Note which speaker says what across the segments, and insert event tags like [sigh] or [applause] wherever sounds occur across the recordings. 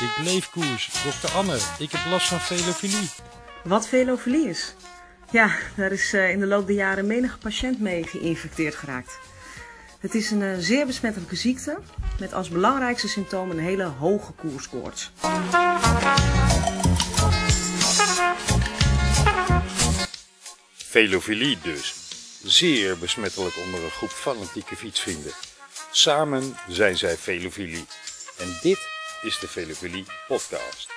Speaker 1: ik leef koers. Dokter Anne, ik heb last van velofilie.
Speaker 2: Wat velofilie is? Ja, daar is eh, in de loop der jaren menige patiënt mee geïnfecteerd geraakt. Het is een eh, zeer besmettelijke ziekte met als belangrijkste symptoom een hele hoge koerskoorts.
Speaker 1: Velofilie dus. Zeer besmettelijk onder een groep fanatieke fietsvrienden. Samen zijn zij velofilie. En dit is de Velofilie podcast.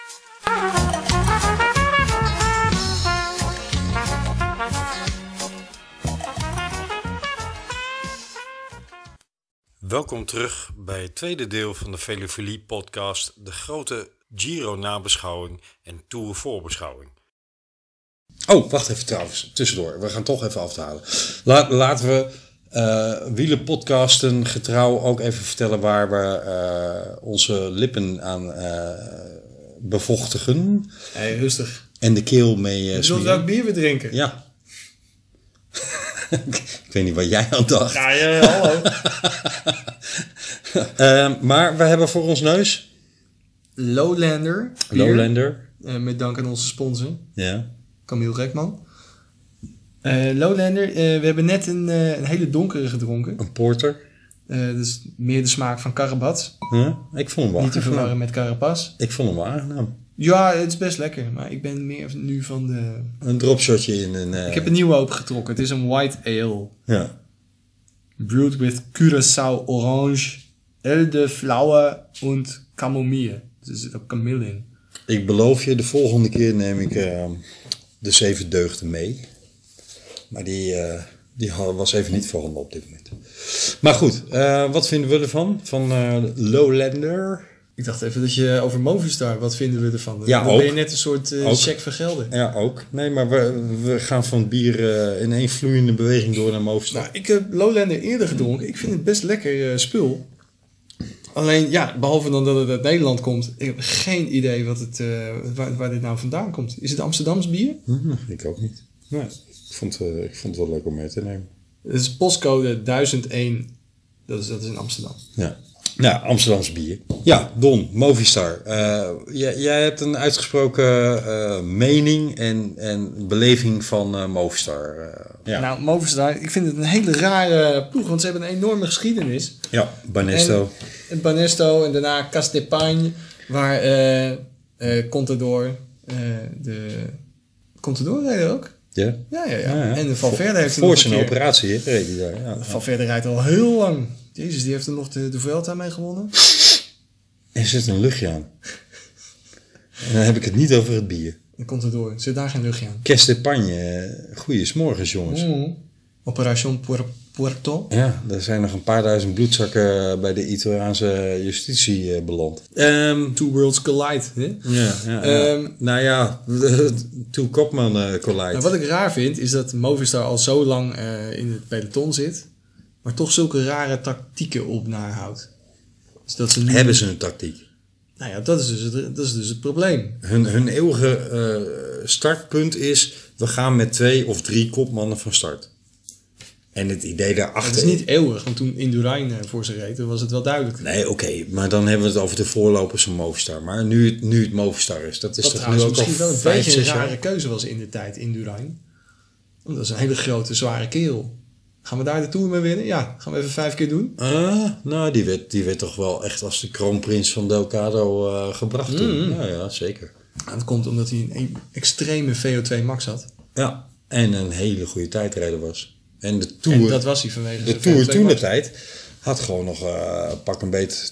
Speaker 3: Welkom terug bij het tweede deel van de Velofilie podcast, de grote Giro-nabeschouwing en Tour-voorbeschouwing.
Speaker 4: Oh, wacht even trouwens, tussendoor. We gaan toch even afdalen. La- laten we eh wielenpodcasten getrouw ook even vertellen waar we eh, onze lippen aan eh, bevochtigen.
Speaker 5: Hé, rustig.
Speaker 4: En de keel mee eh
Speaker 5: Je zult
Speaker 4: smeren.
Speaker 5: ook bier weer drinken.
Speaker 4: Ja. [laughs] Ik weet niet wat jij aan dacht.
Speaker 5: Ja, ja, ja, hallo.
Speaker 4: Eh, maar we hebben voor ons neus
Speaker 5: Lowlander. bier.
Speaker 4: Lowlander.
Speaker 5: Eh, met dank aan onze sponsor,
Speaker 4: Ja.
Speaker 5: Camille Rekman. Eh, Lowlander, eh, we hebben net een, eh, een hele donkere gedronken.
Speaker 4: Een porter.
Speaker 5: Eh, dat is meer de smaak van Karabat.
Speaker 4: Huh? Ik vond hem wel
Speaker 5: Niet te
Speaker 4: aangenaam.
Speaker 5: verwarren met Carapas.
Speaker 4: Ik vond hem wel aangenaam.
Speaker 5: Ja, het is best lekker, maar ik ben meer nu van de...
Speaker 4: Een dropshotje in een... eh,
Speaker 5: Ik heb een nieuwe opengetrokken. Het is een white ale.
Speaker 4: Ja.
Speaker 5: Brewed with Curaçao Orange, Elderflower en Camomille. Dus er zit ook kamille in.
Speaker 4: Ik beloof je, de volgende keer neem ik eh, de zeven deugden mee. Maar die, eh, die ha- was even niet voorhanden op dit moment. Maar goed, eh, wat vinden we ervan? Van eh, Lowlander?
Speaker 5: Ik dacht even dat je over Movistar, wat vinden we ervan?
Speaker 4: Ja,
Speaker 5: Dan
Speaker 4: ook.
Speaker 5: ben je net een soort eh,
Speaker 4: Ook.
Speaker 5: check van gelden.
Speaker 4: Ja, ook. Nee, maar we, we gaan van bier eh, in één vloeiende beweging door naar Movistar.
Speaker 5: Nou, ik heb Lowlander eerder gedronken. Ik vind het best lekker eh, spul. Alleen, ja, behalve dan dat het uit Nederland komt. Ik heb geen idee wat het, eh, waar, waar dit nou vandaan komt. Is het Amsterdams bier?
Speaker 4: Hm, ik ook niet. Nee, ik, vond, eh, ik vond het wel leuk om mee te nemen.
Speaker 5: Het is postcode 1001. Dat is, dat is in Amsterdam.
Speaker 4: Ja. Nou, Amsterdams bier. Ja, Don, Movistar. Eh, jij, jij hebt een uitgesproken eh, mening en, en beleving van eh, Movistar. eh. ja.
Speaker 5: Nou, Movistar, ik vind het een hele rare ploeg. Want ze hebben een enorme geschiedenis.
Speaker 4: ja, Banesto.
Speaker 5: En Banesto en daarna Castepagne, waar eh eh Contador, eh, de... Contador deed dat ook?
Speaker 4: Ja.
Speaker 5: Ja, ja, ja.
Speaker 4: Ja, ja.
Speaker 5: En de Valverde heeft er
Speaker 4: Voor
Speaker 5: nog een
Speaker 4: zijn
Speaker 5: keer.
Speaker 4: operatie, hè, reed hij daar. Ja.
Speaker 5: Valverde rijdt al heel lang. Jezus, die heeft er nog de, de Vuelta mee gewonnen.
Speaker 4: Er zit een luchtje aan. En dan heb ik het niet over het bier.
Speaker 5: En Contador, zit daar geen luchtje aan.
Speaker 4: Kestepagne, goeiesmorgens eh, jongens.
Speaker 5: Mm. Operation Puer- Puerto.
Speaker 4: Ja, er zijn nog een paar duizend bloedzakken bij de Italiaanse justitie eh, beland. Ehm,
Speaker 5: Two Worlds Collide. Hè?
Speaker 4: Ja, ja, ja.
Speaker 5: Ehm,
Speaker 4: nou ja, [laughs] toen Kopman eh collide.
Speaker 5: Nou, wat ik raar vind, is dat Movistar al zo lang eh, in het peloton zit, maar toch zulke rare tactieken op nahoudt. Dus dat ze nu
Speaker 4: Hebben ze een tactiek?
Speaker 5: Nou ja, dat is dus het, dat is dus het probleem.
Speaker 4: Hun, hun eeuwige eh, startpunt is, we gaan met twee of drie kopmannen van start. En het idee daarachter...
Speaker 5: Het is niet eeuwig, want toen Indurain eh, voor ze reed, dan was het wel duidelijk.
Speaker 4: Nee, oké, maar dan hebben we het over de voorlopers van Movistar. Maar nu, het- nu het Movistar is, dat is
Speaker 5: dat
Speaker 4: toch nu
Speaker 5: trouwens
Speaker 4: ook al
Speaker 5: misschien wel een
Speaker 4: vijf,
Speaker 5: beetje een
Speaker 4: zes
Speaker 5: rare
Speaker 4: jaar?
Speaker 5: keuze was in de tijd, Indurain. Want dat is een hele grote, zware kerel. Gaan we daar de Tour mee winnen? Ja, gaan we even vijf keer doen.
Speaker 4: Ah, nou, die werd, die werd toch wel echt als de kroonprins van Delcado eh, gebracht
Speaker 5: Mm.
Speaker 4: toen. Ja, ja, zeker.
Speaker 5: Nou, dat komt omdat hij een e- extreme VO2 max had.
Speaker 4: Ja, en een hele goede tijdrijder was. En de Tour...
Speaker 5: En dat was hij vanwege
Speaker 4: De
Speaker 5: zijn
Speaker 4: Tour
Speaker 5: VO2
Speaker 4: toen de
Speaker 5: max.
Speaker 4: tijd had gewoon nog eh, pak een beet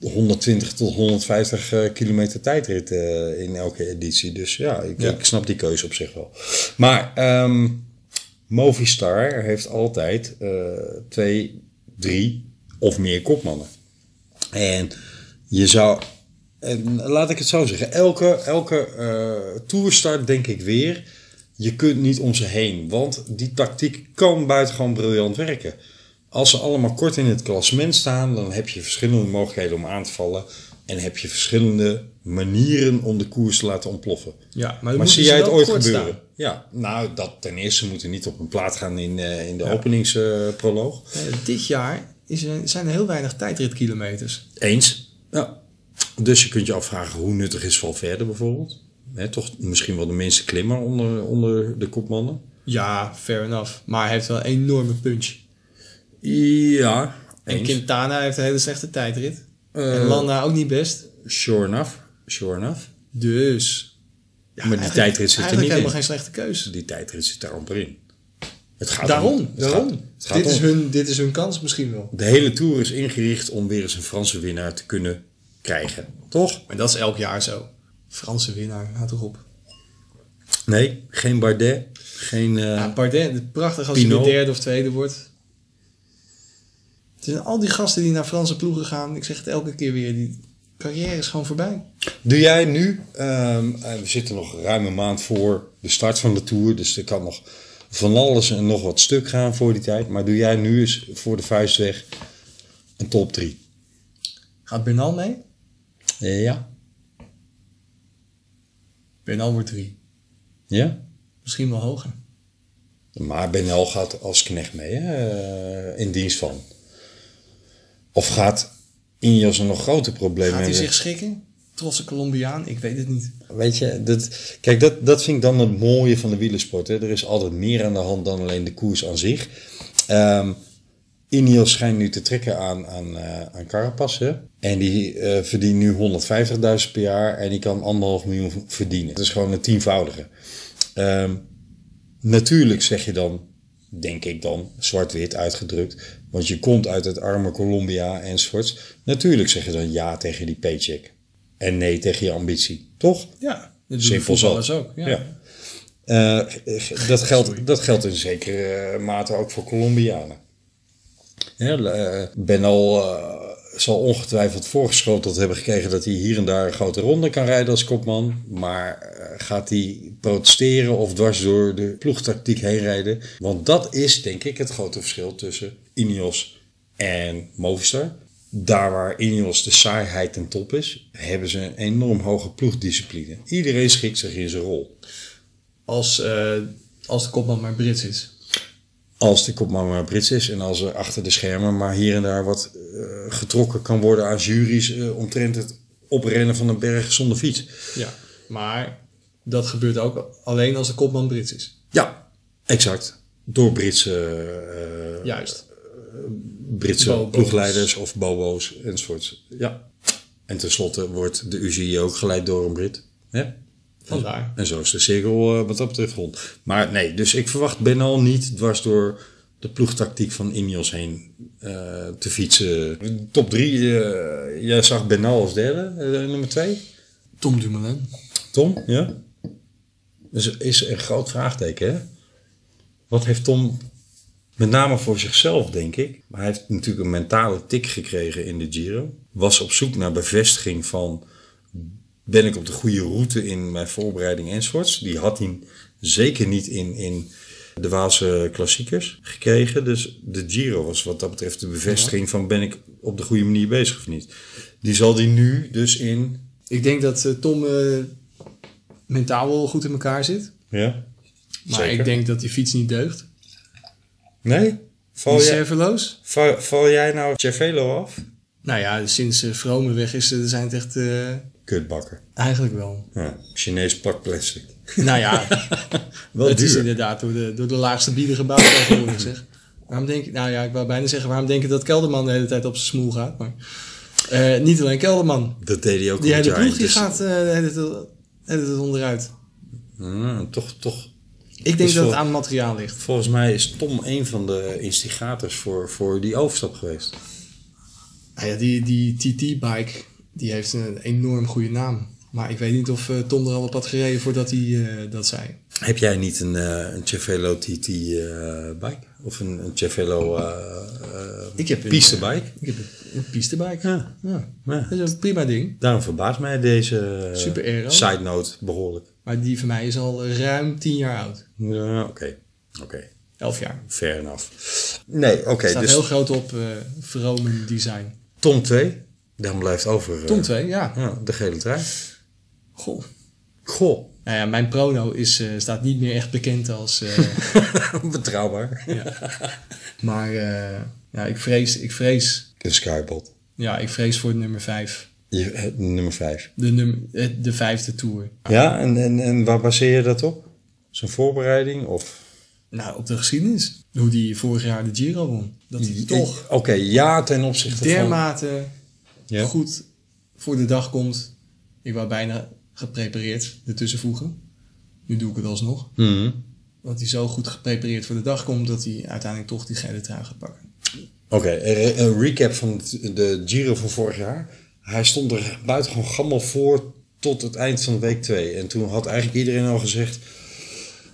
Speaker 4: 120 tot 150 eh, kilometer tijdrit eh, in elke editie. Dus ja ik, ik snap die keuze op zich wel. Maar ehm, Movistar heeft altijd eh, twee, drie of meer kopmannen. En je zou, en laat ik het zo zeggen, elke, elke eh, toerstart denk ik weer, je kunt niet om ze heen. Want die tactiek kan buitengewoon briljant werken. Als ze allemaal kort in het klassement staan, dan heb je verschillende mogelijkheden om aan te vallen. En heb je verschillende manieren om de koers te laten ontploffen.
Speaker 5: Ja, maar dan
Speaker 4: maar
Speaker 5: moeten
Speaker 4: zie
Speaker 5: ze
Speaker 4: jij het
Speaker 5: wel
Speaker 4: ooit
Speaker 5: kort
Speaker 4: gebeuren?
Speaker 5: staan.
Speaker 4: Ja, nou, dat ten eerste moeten niet op een plaat gaan in, eh, in de openingsproloog.
Speaker 5: Eh, dit jaar is er, zijn er heel weinig tijdritkilometers.
Speaker 4: Eens. Ja. Dus je kunt je afvragen hoe nuttig is Valverde bijvoorbeeld. Hè, toch misschien wel de minste klimmer onder, onder de kopmannen.
Speaker 5: Ja, fair enough. Maar hij heeft wel een enorme punch.
Speaker 4: Ja,
Speaker 5: En
Speaker 4: eens.
Speaker 5: Quintana heeft een hele slechte tijdrit.
Speaker 4: Eh,
Speaker 5: en Landa ook niet best.
Speaker 4: Sure enough, sure enough.
Speaker 5: Dus.
Speaker 4: maar die tijdrit zit er
Speaker 5: Eigenlijk
Speaker 4: niet in.
Speaker 5: helemaal geen slechte keuze.
Speaker 4: Die tijdrit zit daar amper in. Het gaat
Speaker 5: Daarom,
Speaker 4: om- het
Speaker 5: daarom.
Speaker 4: gaat- het gaat
Speaker 5: dit, is
Speaker 4: om-
Speaker 5: hun, dit is hun kans misschien wel.
Speaker 4: De hele Tour is ingericht om weer eens een Franse winnaar te kunnen krijgen. Toch?
Speaker 5: En dat is elk jaar zo. Franse winnaar, houd toch op.
Speaker 4: Nee, geen Bardet. Geen, eh,
Speaker 5: Ja, Bardet, het- prachtig als
Speaker 4: Pinot.
Speaker 5: hij weer derde of tweede wordt. Het zijn al die gasten die naar Franse ploegen gaan. Ik zeg het elke keer weer. Die carrière is gewoon voorbij.
Speaker 4: Doe jij nu, ehm, eh, we zitten nog ruim een maand voor de start van de Tour. Dus er kan nog van alles en nog wat stuk gaan voor die tijd. Maar doe jij nu eens voor de vuist weg een top 3?
Speaker 5: Gaat Bernal mee?
Speaker 4: Ja.
Speaker 5: Bernal wordt drie.
Speaker 4: Ja?
Speaker 5: Misschien wel hoger.
Speaker 4: Maar Benel gaat als knecht mee, hè? eh, in dienst van. Of gaat Injas er nog grote problemen
Speaker 5: Gaat hij
Speaker 4: hebben?
Speaker 5: zich schikken? Trotse Colombiaan? Ik weet het niet.
Speaker 4: Weet je, dat, kijk, dat, dat vind ik dan het mooie van de wielersport. Hè? Er is altijd meer aan de hand dan alleen de koers aan zich. Ehm Ineos schijnt nu te trekken aan, aan, eh aan Carapaz. Hè? En die eh, verdient nu 150.000 per jaar en die kan anderhalf miljoen v- verdienen. Dat is gewoon een tienvoudige. Ehm, natuurlijk zeg je dan, denk ik dan, zwart-wit uitgedrukt. Want je komt uit het arme Colombia enzovoorts. Natuurlijk zeg je dan ja tegen die paycheck. En nee tegen je ambitie, toch?
Speaker 5: Ja, dat doen
Speaker 4: Simpel zo.
Speaker 5: voetballers ook. Ja.
Speaker 4: Ja. Eh, g- dat, geldt, dat geldt in zekere eh, mate ook voor Colombianen. Ja, eh, Benal eh, zal ongetwijfeld voorgeschoteld hebben gekregen dat hij hier en daar een grote ronde kan rijden als kopman. Maar eh, gaat hij protesteren of dwars door de ploegtactiek heen rijden? Want dat is denk ik het grote verschil tussen Ineos en Movistar. Daar waar Ineos de saaiheid ten top is, hebben ze een enorm hoge ploegdiscipline. Iedereen schikt zich in zijn rol.
Speaker 5: Als, eh, als de kopman maar Brits is.
Speaker 4: Als de kopman maar Brits is en als er achter de schermen maar hier en daar wat eh, getrokken kan worden aan juries eh, omtrent het oprennen van een berg zonder fiets.
Speaker 5: Ja. Maar dat gebeurt ook alleen als de kopman Brits is.
Speaker 4: Ja, exact. Door Britse, eh,
Speaker 5: Juist.
Speaker 4: Britse
Speaker 5: Bobo's.
Speaker 4: ploegleiders of bobo's enzovoorts. Ja. En tenslotte wordt de UCI ook geleid door een Brit. Ja.
Speaker 5: Vandaar.
Speaker 4: En zo is de cirkel eh, wat dat betreft rond. Maar nee, dus ik verwacht Benal niet dwars door de ploegtactiek van Ineos heen eh, te fietsen. Top 3, jij zag Benal als derde, eh, nummer 2.
Speaker 5: Tom Dumoulin.
Speaker 4: Tom, ja? Dus is een groot vraagteken, hè? Wat heeft Tom, met name voor zichzelf, denk ik. Maar hij heeft natuurlijk een mentale tik gekregen in de Giro. Was op zoek naar bevestiging van... ben ik op de goede route in mijn voorbereiding enzovoorts. Die had hij zeker niet in, in de Waalse klassiekers gekregen. Dus de Giro was wat dat betreft de bevestiging van... ben ik op de goede manier bezig of niet. Die zal hij nu dus in...
Speaker 5: Ik denk dat eh, Tom eh, mentaal wel goed in elkaar zit.
Speaker 4: Ja?
Speaker 5: Maar
Speaker 4: Zeker.
Speaker 5: ik denk dat die fiets niet deugt.
Speaker 4: Nee? Val
Speaker 5: Die
Speaker 4: jij,
Speaker 5: serverloos.
Speaker 4: val, val jij nou Cervelo af?
Speaker 5: Nou ja, sinds eh, Vrome weg is, eh, zijn het echt... eh,
Speaker 4: Kutbakker.
Speaker 5: eigenlijk wel.
Speaker 4: Ja. Chinees pak plastic.
Speaker 5: [laughs] nou [laughs] ja,
Speaker 4: Wel
Speaker 5: het is
Speaker 4: duur.
Speaker 5: inderdaad door de, door de laagste bieder gebouwd tegenwoordig zeg. Waarom denk ik, nou ja, ik wou bijna zeggen, waarom denk je dat Kelderman de hele tijd op zijn smoel gaat? Maar eh, niet alleen Kelderman.
Speaker 4: Dat deed hij ook dus-
Speaker 5: Die
Speaker 4: al
Speaker 5: hele
Speaker 4: jaren
Speaker 5: ploeg die
Speaker 4: tussen.
Speaker 5: gaat eh, de hele tijd- de hele tijd onderuit.
Speaker 4: Ah, toch, toch.
Speaker 5: Ik denk
Speaker 4: Dus
Speaker 5: dat het
Speaker 4: wel-
Speaker 5: aan materiaal ligt.
Speaker 4: Volgens mij is Tom een van de instigators voor, voor die overstap geweest.
Speaker 5: Nou ja, die, die TT-bike, die heeft een enorm goede naam. Maar ik weet niet of eh, Tom er al op had gereden voordat hij eh, dat zei.
Speaker 4: Heb jij niet een, eh een Cervelo TT eh, bike? Of een, een Cervelo eh, eh,
Speaker 5: Ik heb een-
Speaker 4: pistebike?
Speaker 5: Ik heb een, een pistebike.
Speaker 4: Ja.
Speaker 5: Ja.
Speaker 4: Ja.
Speaker 5: Dat is een prima ding.
Speaker 4: Daarom verbaast mij deze eh,
Speaker 5: Super aero.
Speaker 4: side note behoorlijk.
Speaker 5: Maar die van mij is al ruim 10 jaar oud.
Speaker 4: Ja, oké. Oké,
Speaker 5: 11 jaar.
Speaker 4: fair enough. Nee, oké.
Speaker 5: Staat
Speaker 4: dus
Speaker 5: heel groot op eh Vromen Design.
Speaker 4: Tom 2. Dan blijft over. eh,
Speaker 5: Tom 2, ja.
Speaker 4: Ja, de gele trui.
Speaker 5: Goh.
Speaker 4: Goh,
Speaker 5: Nou ja, mijn prono is, eh, staat niet meer echt bekend als... eh,
Speaker 4: [laughs] [laughs] betrouwbaar.
Speaker 5: [laughs] maar eh, ja, ik, vrees, ik, vrees,
Speaker 4: Een skybot.
Speaker 5: ja, ik vrees voor nummer 5.
Speaker 4: Je- eh, nummer 5.
Speaker 5: De, nummer, eh, de vijfde tour.
Speaker 4: Ja, en, en, en waar baseer je dat op? Zijn voorbereiding of...
Speaker 5: Nou, op de geschiedenis. Hoe die vorig jaar de Giro won. Dat
Speaker 4: Mm-hmm.
Speaker 5: hij toch
Speaker 4: Oké, ja ten opzichte
Speaker 5: dermate
Speaker 4: van... Ja.
Speaker 5: goed voor de dag komt. Ik wou bijna geprepareerd ertussen voegen. Nu doe ik het alsnog.
Speaker 4: Mhm.
Speaker 5: Dat hij zo goed geprepareerd voor de dag komt dat hij uiteindelijk toch die gele trui gaat pakken.
Speaker 4: Oké, een- een recap van het- de Giro van vorig jaar. Hij stond er buitengewoon gammel voor tot het eind van week 2. En toen had eigenlijk iedereen al gezegd...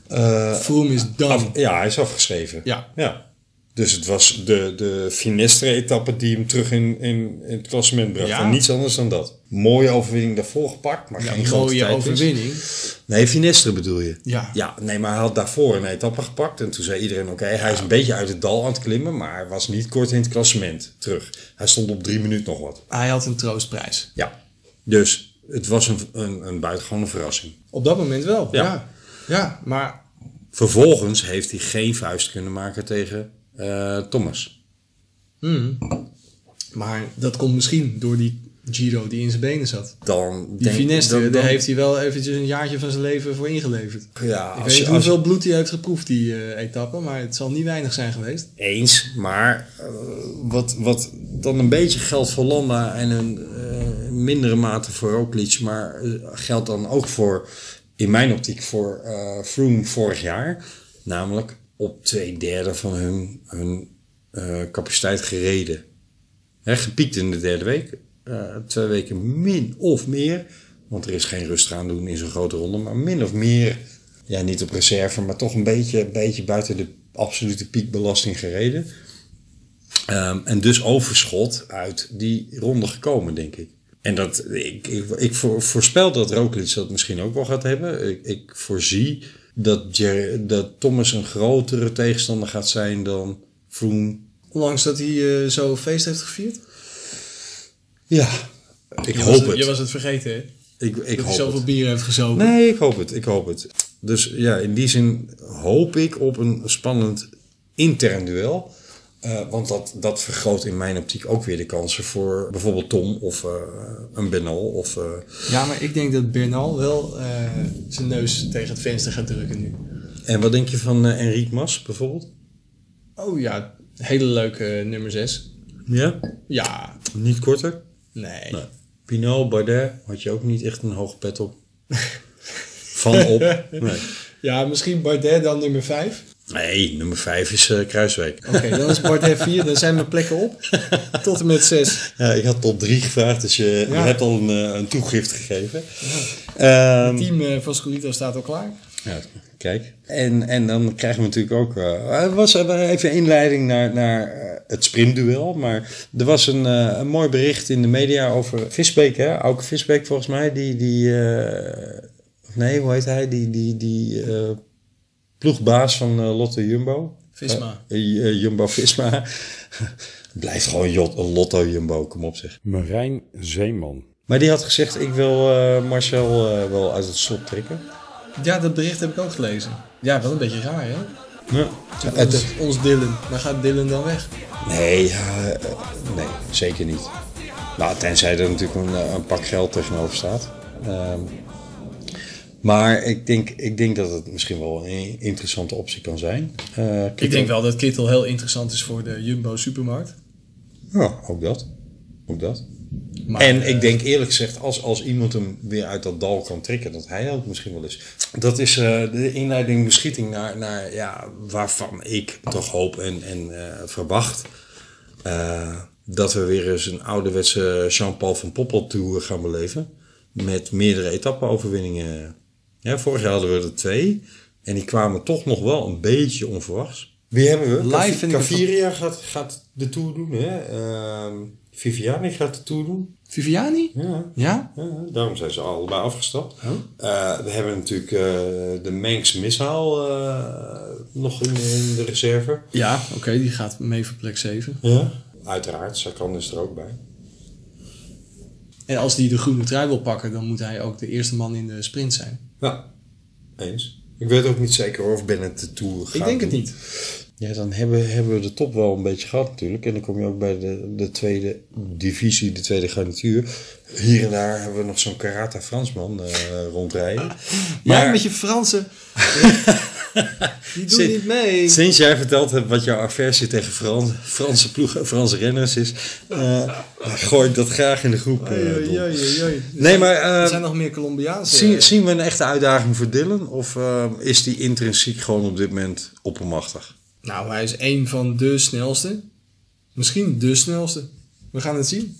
Speaker 4: eh,
Speaker 5: Froome is done.
Speaker 4: af- ja, hij is afgeschreven.
Speaker 5: Ja.
Speaker 4: ja. Dus het was de, de Finestre-etappe die hem terug in, in, in het klassement bracht.
Speaker 5: Ja.
Speaker 4: En niets anders dan dat. Mooie overwinning daarvoor gepakt, maar
Speaker 5: Ja,
Speaker 4: geen grote
Speaker 5: mooie
Speaker 4: tijdwinst.
Speaker 5: overwinning.
Speaker 4: Nee, Finestre bedoel je?
Speaker 5: Ja.
Speaker 4: Ja, nee, maar hij had daarvoor een etappe gepakt. En toen zei iedereen, oké, hij is een beetje uit het dal aan het klimmen. Maar hij was niet kort in het klassement terug. Hij stond op drie minuten nog wat.
Speaker 5: Hij had een troostprijs.
Speaker 4: Ja. Dus het was een, een, een buitengewone verrassing.
Speaker 5: Op dat moment wel.
Speaker 4: Ja.
Speaker 5: Ja. ja. maar
Speaker 4: Vervolgens heeft hij geen vuist kunnen maken tegen eh, Thomas.
Speaker 5: hmm. Maar dat komt misschien door die Giro die in zijn benen zat.
Speaker 4: Dan
Speaker 5: Die
Speaker 4: denk-
Speaker 5: Finestre,
Speaker 4: dan- dan-
Speaker 5: daar heeft hij wel eventjes een jaartje van zijn leven voor ingeleverd.
Speaker 4: Ja,
Speaker 5: ik
Speaker 4: als
Speaker 5: weet
Speaker 4: je-
Speaker 5: niet
Speaker 4: als je-
Speaker 5: hoeveel bloed hij heeft geproefd, die eh, etappe, maar het zal niet weinig zijn geweest.
Speaker 4: Eens, maar eh, wat, wat dan een beetje geldt voor Landa en een eh, mindere mate voor Roglic, maar eh, geldt dan ook voor, in mijn optiek, voor eh Froome vorig jaar. Namelijk op twee derde van hun, hun eh, capaciteit gereden. Hè, gepiekt in de derde week. Eh, twee weken min of meer, want er is geen rust gaan doen in zo'n grote ronde, maar min of meer, ja niet op reserve, maar toch een beetje, een beetje buiten de absolute piekbelasting gereden. Ehm, en dus overschot uit die ronde gekomen, denk ik. En dat, ik, ik, ik voor- voorspel dat Roglic dat misschien ook wel gaat hebben. Ik, ik voorzie dat, Jer- dat Thomas een grotere tegenstander gaat zijn dan Froome.
Speaker 5: Ondanks dat hij eh, zo feest heeft gevierd.
Speaker 4: Ja, ik
Speaker 5: Je was
Speaker 4: hoop het.
Speaker 5: Je was het vergeten, hè?
Speaker 4: Ik, ik
Speaker 5: dat hij
Speaker 4: hoop
Speaker 5: zoveel
Speaker 4: het.
Speaker 5: bier heeft gezopen.
Speaker 4: Nee, ik hoop het. Ik hoop het. Dus ja, in die zin hoop ik op een spannend intern duel. Eh, want dat, dat vergroot in mijn optiek ook weer de kansen voor bijvoorbeeld Tom of eh, een Benal. Of, eh,
Speaker 5: Ja, maar ik denk dat Bernal wel eh, zijn neus tegen het venster gaat drukken nu.
Speaker 4: En wat denk je van eh Enrique Mas bijvoorbeeld?
Speaker 5: Oh ja, hele leuke nummer 6.
Speaker 4: Ja,
Speaker 5: Ja,
Speaker 4: niet korter.
Speaker 5: nee.
Speaker 4: Nee. Pinot, Bardet had je ook niet echt een hoge pet op.
Speaker 5: [laughs]
Speaker 4: van op. Nee,
Speaker 5: Ja, misschien Bardet dan nummer 5.
Speaker 4: nee nummer 5 is eh, Kruiswijk.
Speaker 5: Oké, dan is Bardet 4, dan zijn mijn plekken op. Tot en met 6.
Speaker 4: Ja, ik had top 3 gevraagd, dus je, je
Speaker 5: Ja.
Speaker 4: hebt al een, eh, een toegift gegeven. Ehm,
Speaker 5: Team eh, van Scorito staat al klaar.
Speaker 4: ja, kijk. En, en dan krijgen we natuurlijk ook. eh, er was eh, even inleiding naar, naar eh, het sprintduel. Maar er was een, eh, een mooi bericht in de media over Visbeek, hè? Auke Visbeek volgens mij. Die. die eh, nee, hoe heet hij? Die, die, die eh, ploegbaas van eh, Lotto Jumbo.
Speaker 5: Visma.
Speaker 4: Eh, eh, Jumbo Visma. [laughs] Blijft gewoon Jot- Lotto Jumbo, kom op zeg.
Speaker 3: Marijn Zeeman.
Speaker 4: Maar die had gezegd, ik wil eh, Marcel eh, wel uit het slot trekken.
Speaker 5: Ja, dat bericht heb ik ook gelezen. Ja, wel een beetje raar, hè?
Speaker 4: Ja.
Speaker 5: Ons, ons Dylan. Maar gaat Dylan dan weg?
Speaker 4: nee, ja, eh, nee, zeker niet. Nou, tenzij er natuurlijk een, eh, een pak geld tegenover staat. Ehm, maar ik denk, ik denk dat het misschien wel een interessante optie kan zijn. Eh,
Speaker 5: Ik denk wel dat Kittel heel interessant is voor de Jumbo supermarkt.
Speaker 4: Ja, oh, ook dat. Ook dat.
Speaker 5: Maar,
Speaker 4: En
Speaker 5: eh,
Speaker 4: ik denk eerlijk gezegd, als, als iemand hem weer uit dat dal kan trekken, dat hij ook misschien wel is. Dat is eh, de inleiding beschieting naar, naar ja, waarvan ik toch hoop en, en eh, verwacht. eh, dat we weer eens een ouderwetse Jean-Paul van Poppel tour gaan beleven. Met meerdere etappenoverwinningen. Ja, vorig jaar hadden we er twee. En die kwamen toch nog wel een beetje onverwachts. Wie hebben we?
Speaker 5: Live vind ik het-
Speaker 4: Caviria gaat, gaat de tour doen. Hè? Ehm, Viviani gaat de tour doen.
Speaker 5: Viviani?
Speaker 4: Ja,
Speaker 5: Ja?
Speaker 4: ja, daarom zijn ze allebei afgestapt. Eh, we hebben natuurlijk eh, de Manx Missile eh, nog in, in de reserve.
Speaker 5: Ja, oké, die gaat mee voor plek 7.
Speaker 4: Ja. Uiteraard, Sakan is er ook bij.
Speaker 5: En als die de groene trui wil pakken, dan moet hij ook de eerste man in de sprint zijn.
Speaker 4: Nou, Ja, eens. Ik weet ook niet zeker hoor, of Bennett de Tour gaat
Speaker 5: ik denk het
Speaker 4: doen.
Speaker 5: niet.
Speaker 4: Ja, dan hebben, hebben we de top wel een beetje gehad natuurlijk. En dan kom je ook bij de, de tweede divisie, de tweede garnituur. Hier en daar hebben we nog zo'n Karata Fransman eh, rondrijden.
Speaker 5: Maar... Jij
Speaker 4: Maar
Speaker 5: met je
Speaker 4: [laughs]
Speaker 5: Fransen. Die doen
Speaker 4: Zit-
Speaker 5: niet mee.
Speaker 4: sinds jij verteld hebt wat jouw aversie tegen Fran, Franse ploegen, Franse renners is, eh, gooi ik dat graag in de groep. eh,
Speaker 5: Oei, oei,
Speaker 4: Don.
Speaker 5: oei, oei.
Speaker 4: Nee, maar eh,
Speaker 5: Er zijn nog meer Colombiaanse.
Speaker 4: zien, zien we een echte uitdaging voor Dylan? Of eh, is die intrinsiek gewoon op dit moment oppermachtig?
Speaker 5: Nou, hij is één van de snelste. Misschien de snelste. We gaan het zien.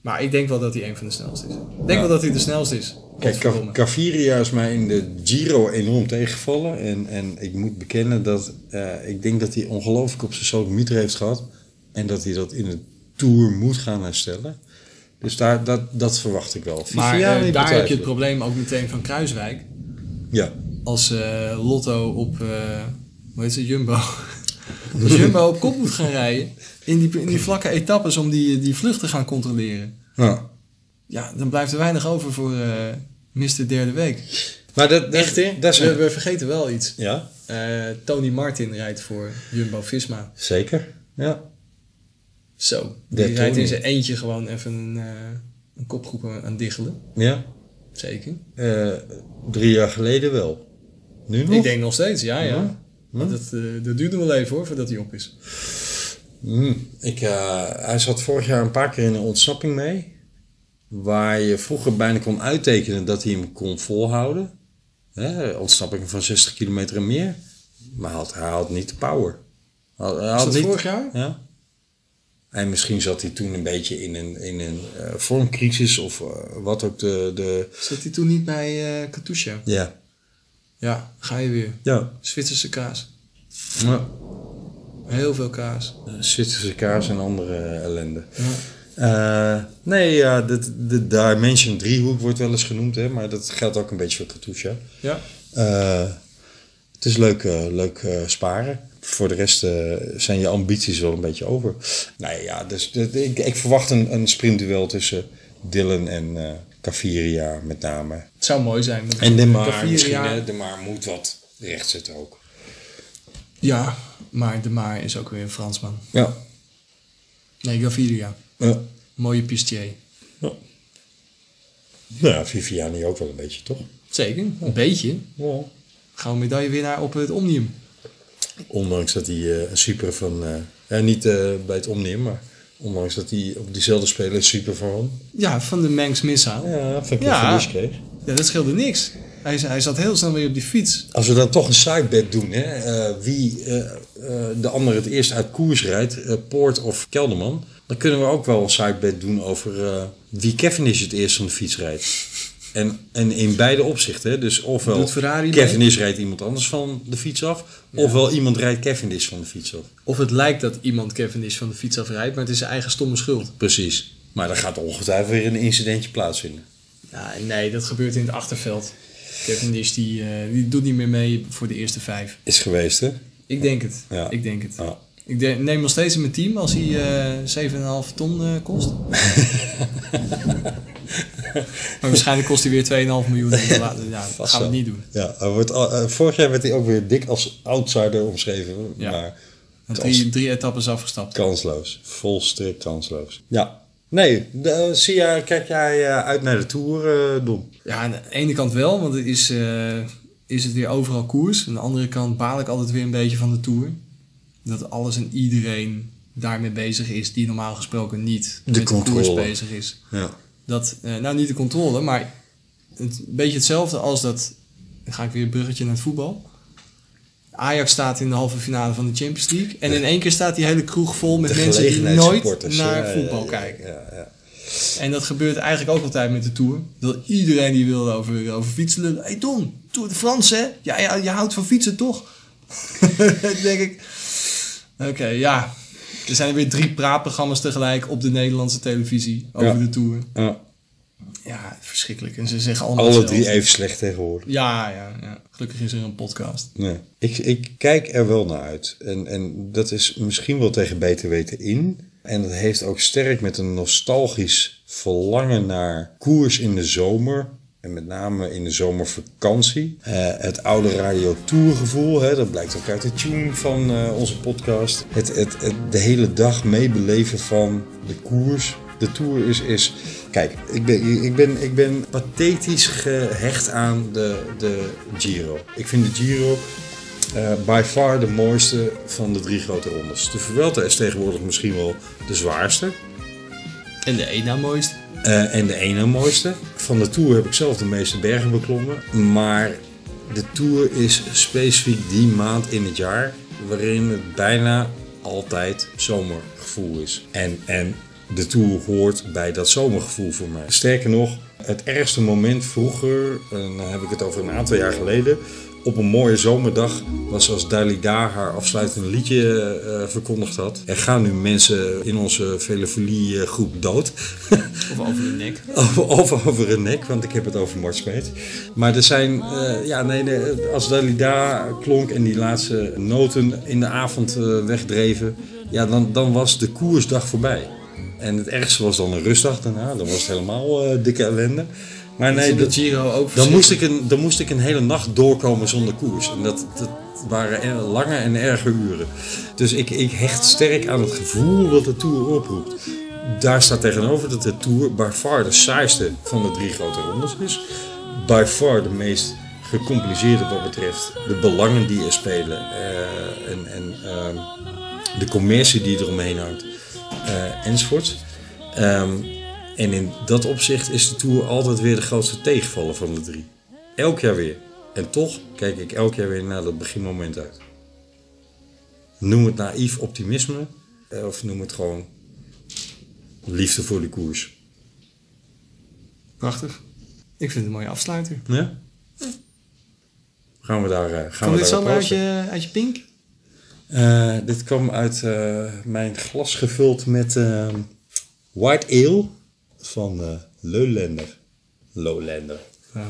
Speaker 5: Maar ik denk wel dat hij één van de snelste is. Ik denk wel dat hij de snelste is.
Speaker 4: Kijk, Ca-
Speaker 5: Godverdomme.
Speaker 4: Caviria is mij in de Giro enorm tegengevallen. En, en ik moet bekennen dat eh, ik denk dat hij ongelooflijk op zijn sodemieter heeft gehad. En dat hij dat in de Tour moet gaan herstellen. Dus daar, dat, dat verwacht ik wel.
Speaker 5: maar
Speaker 4: Viviani
Speaker 5: eh, daar
Speaker 4: betwijfel
Speaker 5: heb je het
Speaker 4: ik.
Speaker 5: probleem ook meteen van Kruiswijk.
Speaker 4: Ja,
Speaker 5: Als eh, Lotto op, eh, hoe heet ze,
Speaker 4: [laughs]
Speaker 5: Jumbo. Als Jumbo op kop moet gaan rijden. In die, in die vlakke etappes om die, die vlucht te gaan controleren.
Speaker 4: nou,
Speaker 5: Ja, dan blijft er weinig over voor eh Mr. Derde Week.
Speaker 4: maar dat, dat,
Speaker 5: Echt, hè?
Speaker 4: dat is
Speaker 5: we,
Speaker 4: een,
Speaker 5: we vergeten wel iets.
Speaker 4: Ja,
Speaker 5: Eh, Tony Martin rijdt voor Jumbo-Visma.
Speaker 4: zeker. Ja.
Speaker 5: Zo,
Speaker 4: Ja,
Speaker 5: die rijdt
Speaker 4: Tony.
Speaker 5: in zijn eentje gewoon even een, eh, een kopgroep aan aan diggelen.
Speaker 4: ja.
Speaker 5: Zeker.
Speaker 4: Eh, drie jaar geleden wel. Nu nog?
Speaker 5: Ik denk nog steeds, ja, ja.
Speaker 4: Ja.
Speaker 5: Maar Dat, eh, dat duurt nog wel even hoor, voordat hij op is.
Speaker 4: Hmm, Ik, eh, hij zat vorig jaar een paar keer in een ontsnapping mee. Waar je vroeger bijna kon uittekenen dat hij hem kon volhouden. Hè, ontsnappingen van 60 kilometer en meer. Maar hij had, hij had niet de power. Hij had- hij had
Speaker 5: dat
Speaker 4: niet-
Speaker 5: vorig jaar?
Speaker 4: Ja. En misschien zat hij toen een beetje in een, in een eh, vormcrisis of eh, wat ook de... de
Speaker 5: Zat hij toen niet bij eh Katusha?
Speaker 4: ja.
Speaker 5: Ja, ga je weer.
Speaker 4: Ja.
Speaker 5: Zwitserse kaas.
Speaker 4: ja.
Speaker 5: Heel veel kaas.
Speaker 4: Zwitserse kaas en andere eh, ellende.
Speaker 5: Ja.
Speaker 4: Eh, nee, ja, de, de Dimension driehoek wordt wel eens genoemd, hè, maar dat geldt ook een beetje voor Katusha.
Speaker 5: Ja.
Speaker 4: Eh, het is leuk, eh, leuk eh, sparen. Voor de rest eh, zijn je ambities wel een beetje over. Nee, ja, dus dit- ik, ik verwacht een, een sprintduel tussen Dylan en eh Caviria met name.
Speaker 5: Het zou mooi zijn. want
Speaker 4: En de Maar
Speaker 5: Caviria-
Speaker 4: misschien, hè, de Maar moet wat rechtzetten ook.
Speaker 5: Ja, maar De Maar is ook weer een Fransman.
Speaker 4: Ja.
Speaker 5: Nee, Gaviria.
Speaker 4: ja.
Speaker 5: Mooie pistier.
Speaker 4: Nou ja, Viviani ook wel een beetje, toch?
Speaker 5: Zeker, een beetje.
Speaker 4: Ja.
Speaker 5: Gouden medaillewinnaar op het Omnium.
Speaker 4: Ondanks dat hij eh, een super van. eh, eh, niet eh, bij het Omnium, maar. Ondanks dat hij op diezelfde speler een super van won.
Speaker 5: Ja, van de Manx Missile.
Speaker 4: Ja, van
Speaker 5: Ja.
Speaker 4: verlies kreeg.
Speaker 5: Ja, dat scheelde niks. Hij, hij zat heel snel weer op die fiets.
Speaker 4: Als we dan toch een sidebet doen, hè, eh, wie eh, eh, de ander het eerst uit koers rijdt, eh, Poort of Kelderman. Dan kunnen we ook wel een sidebet doen over eh, wie Cavendish het eerst van de fiets rijdt. En, en in beide opzichten. hè, Dus ofwel
Speaker 5: Doet Ferrari mee?
Speaker 4: Cavendish rijdt iemand anders van de fiets af. Ofwel iemand rijdt Cavendish van de fiets af.
Speaker 5: Of het lijkt dat iemand Kevin is van de fiets afrijdt, maar het is zijn eigen stomme schuld.
Speaker 4: Precies. Maar er gaat ongetwijfeld weer een incidentje plaatsvinden.
Speaker 5: Ja, nee, dat gebeurt in het achterveld. Kevin is die, eh, die doet niet meer mee voor de eerste vijf.
Speaker 4: Is geweest, hè?
Speaker 5: Ik denk het.
Speaker 4: Ja.
Speaker 5: Ik denk het.
Speaker 4: Ja.
Speaker 5: Ik de- neem nog steeds in mijn team als hij eh 7,5 ton eh,
Speaker 4: [laughs]
Speaker 5: kost. maar waarschijnlijk kost hij weer 2,5 miljoen. Ja, dat gaan we
Speaker 4: wel.
Speaker 5: niet doen.
Speaker 4: Ja, hij wordt, al- eh, vorig jaar werd hij ook weer dik als outsider omschreven,
Speaker 5: Ja.
Speaker 4: maar
Speaker 5: Drie, drie etappes afgestapt.
Speaker 4: kansloos. Volstrekt kansloos. Ja. Nee, de, eh, zie jij, kijk jij eh, uit naar de Tour, eh, Don?
Speaker 5: Ja, aan de ene kant wel, want het is, eh, is het weer overal koers. Aan de andere kant baal ik altijd weer een beetje van de Tour. Dat alles en iedereen daarmee bezig is die normaal gesproken niet
Speaker 4: De
Speaker 5: met de
Speaker 4: controle.
Speaker 5: koers bezig is.
Speaker 4: Ja.
Speaker 5: Dat, eh, nou niet de controle, maar het, een beetje hetzelfde als dat... Dan ga ik weer een bruggetje naar het voetbal. Ajax staat in de halve finale van de Champions League. En in één keer staat die hele kroeg vol met mensen die nooit
Speaker 4: gelegenheidssupporters,
Speaker 5: naar
Speaker 4: ja, ja,
Speaker 5: voetbal
Speaker 4: ja,
Speaker 5: kijken.
Speaker 4: Ja, ja.
Speaker 5: En dat gebeurt eigenlijk ook altijd met de Tour. Dat iedereen die wil over, over fietsen lullen. hey Don, Tour de France hè? Ja, ja, je houdt van fietsen toch? [laughs] Dan denk ik. Oké, ja. Er zijn weer drie praatprogramma's tegelijk op de Nederlandse televisie over
Speaker 4: Ja.
Speaker 5: de Tour.
Speaker 4: Ja.
Speaker 5: Ja, verschrikkelijk. En ze zeggen allemaal
Speaker 4: Alle
Speaker 5: hetzelfde.
Speaker 4: drie even slecht tegenwoordig.
Speaker 5: Ja, ja, ja. Gelukkig is er een podcast.
Speaker 4: Nee. Ik, ik kijk er wel naar uit. En, en dat is misschien wel tegen beter weten in. En dat heeft ook sterk met een nostalgisch verlangen naar koers in de zomer. En met name in de zomervakantie. Eh, het oude Radio Tour gevoel, hè, dat blijkt ook uit de tune van eh, onze podcast. Het, het, het, de hele dag meebeleven van de koers. De Tour is... is kijk, ik ben, ik, ben, ik ben pathetisch gehecht aan de, de Giro. Ik vind de Giro eh, by far de mooiste van de drie grote rondes. De Vuelta is tegenwoordig misschien wel de zwaarste.
Speaker 5: En de één na mooiste.
Speaker 4: Eh, en de ene mooiste. Van de Tour heb ik zelf de meeste bergen beklommen. Maar de Tour is specifiek die maand in het jaar waarin het bijna altijd zomergevoel is. En, en de Tour hoort bij dat zomergevoel voor mij. Sterker nog, het ergste moment vroeger, eh, en dan heb ik het over een aantal jaar geleden, op een mooie zomerdag was als Dalida haar afsluitend liedje eh, verkondigd had. Er gaan nu mensen in onze Velofilie eh, groep dood. [laughs]
Speaker 5: Of over de nek.
Speaker 4: Of, of over een nek, want ik heb het over Mart Smeet. Maar er zijn, eh, ja, nee, nee, als Dalida klonk en die laatste noten in de avond eh, wegdreven, ja, dan, dan was de koersdag voorbij. En het ergste was dan een rustdag daarna, dan was het helemaal eh, dikke ellende. Maar nee,
Speaker 5: Nee, de
Speaker 4: dat,
Speaker 5: Giro ook
Speaker 4: dan, moest ik een, dan moest ik een hele nacht doorkomen zonder koers. En dat, dat waren er- lange en erge uren. Dus ik, ik hecht sterk aan het gevoel dat de Tour oproept. Daar staat tegenover dat de Tour by far de saaiste van de drie grote rondes is. By far de meest gecompliceerde wat betreft de belangen die er spelen. eh, en en ehm, de commercie die eromheen hangt. eh enzovoort. Ehm, en in dat opzicht is de Tour altijd weer de grootste tegenvaller van de drie. Elk jaar weer. En toch kijk ik elk jaar weer naar dat beginmoment uit. Noem het naïef optimisme. eh, Of noem het gewoon liefde voor de koers.
Speaker 5: Prachtig. Ik vind het een mooie afsluiter.
Speaker 4: Ja? Gaan we daar... eh, Gaan
Speaker 5: Komt
Speaker 4: we
Speaker 5: dit
Speaker 4: daar op
Speaker 5: zomaar uit
Speaker 4: proosten?
Speaker 5: je, uit je pink?
Speaker 4: Eh, dit kwam uit eh, mijn glas gevuld met eh, white ale van eh Leulander. Lowlander.
Speaker 5: Nou,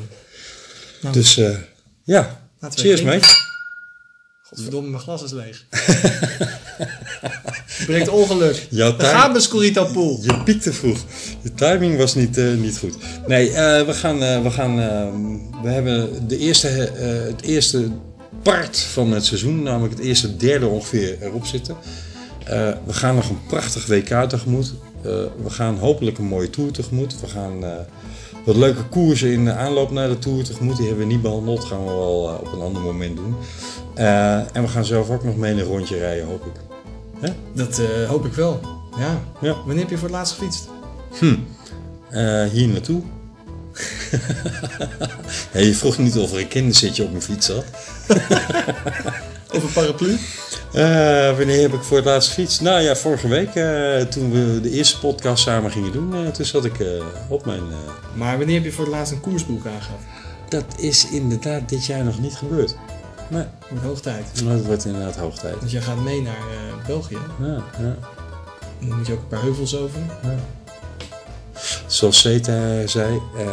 Speaker 4: Dus eh, ja,
Speaker 5: Laten we
Speaker 4: cheers
Speaker 5: drinken.
Speaker 4: mate.
Speaker 5: godverdomme, mijn glas is
Speaker 4: [laughs]
Speaker 5: leeg. Brengt ongeluk.
Speaker 4: Ja,
Speaker 5: Daar
Speaker 4: daar-
Speaker 5: gaat mijn Scorito Pool.
Speaker 4: Je piekte vroeg. De timing was niet, eh, niet goed. Nee, eh, we gaan. eh, we, gaan eh, we hebben de eerste, eh, het eerste part van het seizoen, namelijk het eerste derde ongeveer, erop zitten. Eh, we gaan nog een prachtig WK tegemoet. Eh, we gaan hopelijk een mooie tour tegemoet. We gaan eh, wat leuke koersen in de aanloop naar de tour tegemoet. Die hebben we niet behandeld. Gaan we wel eh, op een ander moment doen. Eh, en we gaan zelf ook nog mee een rondje rijden, hoop ik.
Speaker 5: Dat eh, hoop ik wel. Ja.
Speaker 4: Ja.
Speaker 5: Wanneer heb je voor het laatst gefietst?
Speaker 4: Eh, hier naartoe. [laughs] Hé, je vroeg niet of er een kinderzitje op mijn fiets zat.
Speaker 5: Of een paraplu?
Speaker 4: Eh, wanneer heb ik voor het laatst fiets? Nou ja, vorige week eh, toen we de eerste podcast samen gingen doen, eh, toen zat ik eh, op mijn. eh,
Speaker 5: Maar wanneer heb je voor het laatst een koersboek aangehad?
Speaker 4: dat is inderdaad dit jaar nog niet gebeurd. Maar
Speaker 5: Wordt hoog tijd.
Speaker 4: dat wordt inderdaad hoog tijd.
Speaker 5: Want jij gaat mee naar eh, België.
Speaker 4: Ja, ja,
Speaker 5: Dan moet je ook een paar heuvels over.
Speaker 4: ja. Zoals Zeta zei, eh,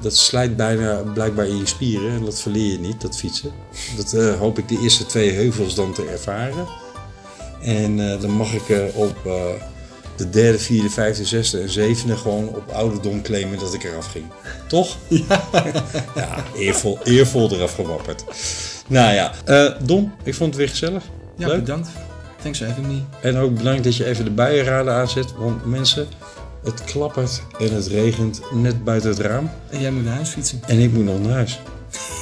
Speaker 4: dat slijt bijna blijkbaar in je spieren en dat verleer je niet, dat fietsen. Dat eh, hoop ik de eerste twee heuvels dan te ervaren. En eh, dan mag ik eh, op eh, de derde, vierde, vijfde, zesde en zevende gewoon op ouderdom claimen dat ik eraf ging.
Speaker 5: [laughs]
Speaker 4: Toch? Ja, eervol, eervol eraf gewapperd. Nou ja, eh, Don, ik vond het weer gezellig.
Speaker 5: Ja,
Speaker 4: Leuk.
Speaker 5: bedankt. Thanks for having me.
Speaker 4: En ook bedankt dat je even de bijenraden aanzet, want mensen, het klappert en het regent net buiten het raam.
Speaker 5: En jij moet naar huis fietsen.
Speaker 4: En ik moet nog naar huis.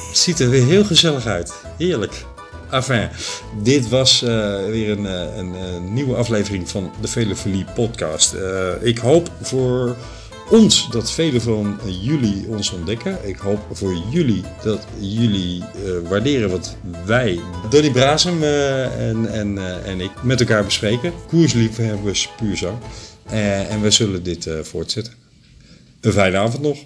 Speaker 4: Het ziet er weer heel gezellig uit. Heerlijk. Enfin, dit was eh, weer een, eh, een, eh, nieuwe aflevering van de Velofilie podcast. Eh, ik hoop voor ons dat velen van jullie ons ontdekken. Ik hoop voor jullie dat jullie eh, waarderen wat wij, Donny Brazem eh, en, en, eh, en ik, met elkaar bespreken. Koersliefhebbers puur zo. Eh, en we zullen dit eh, voortzetten. Een fijne avond nog.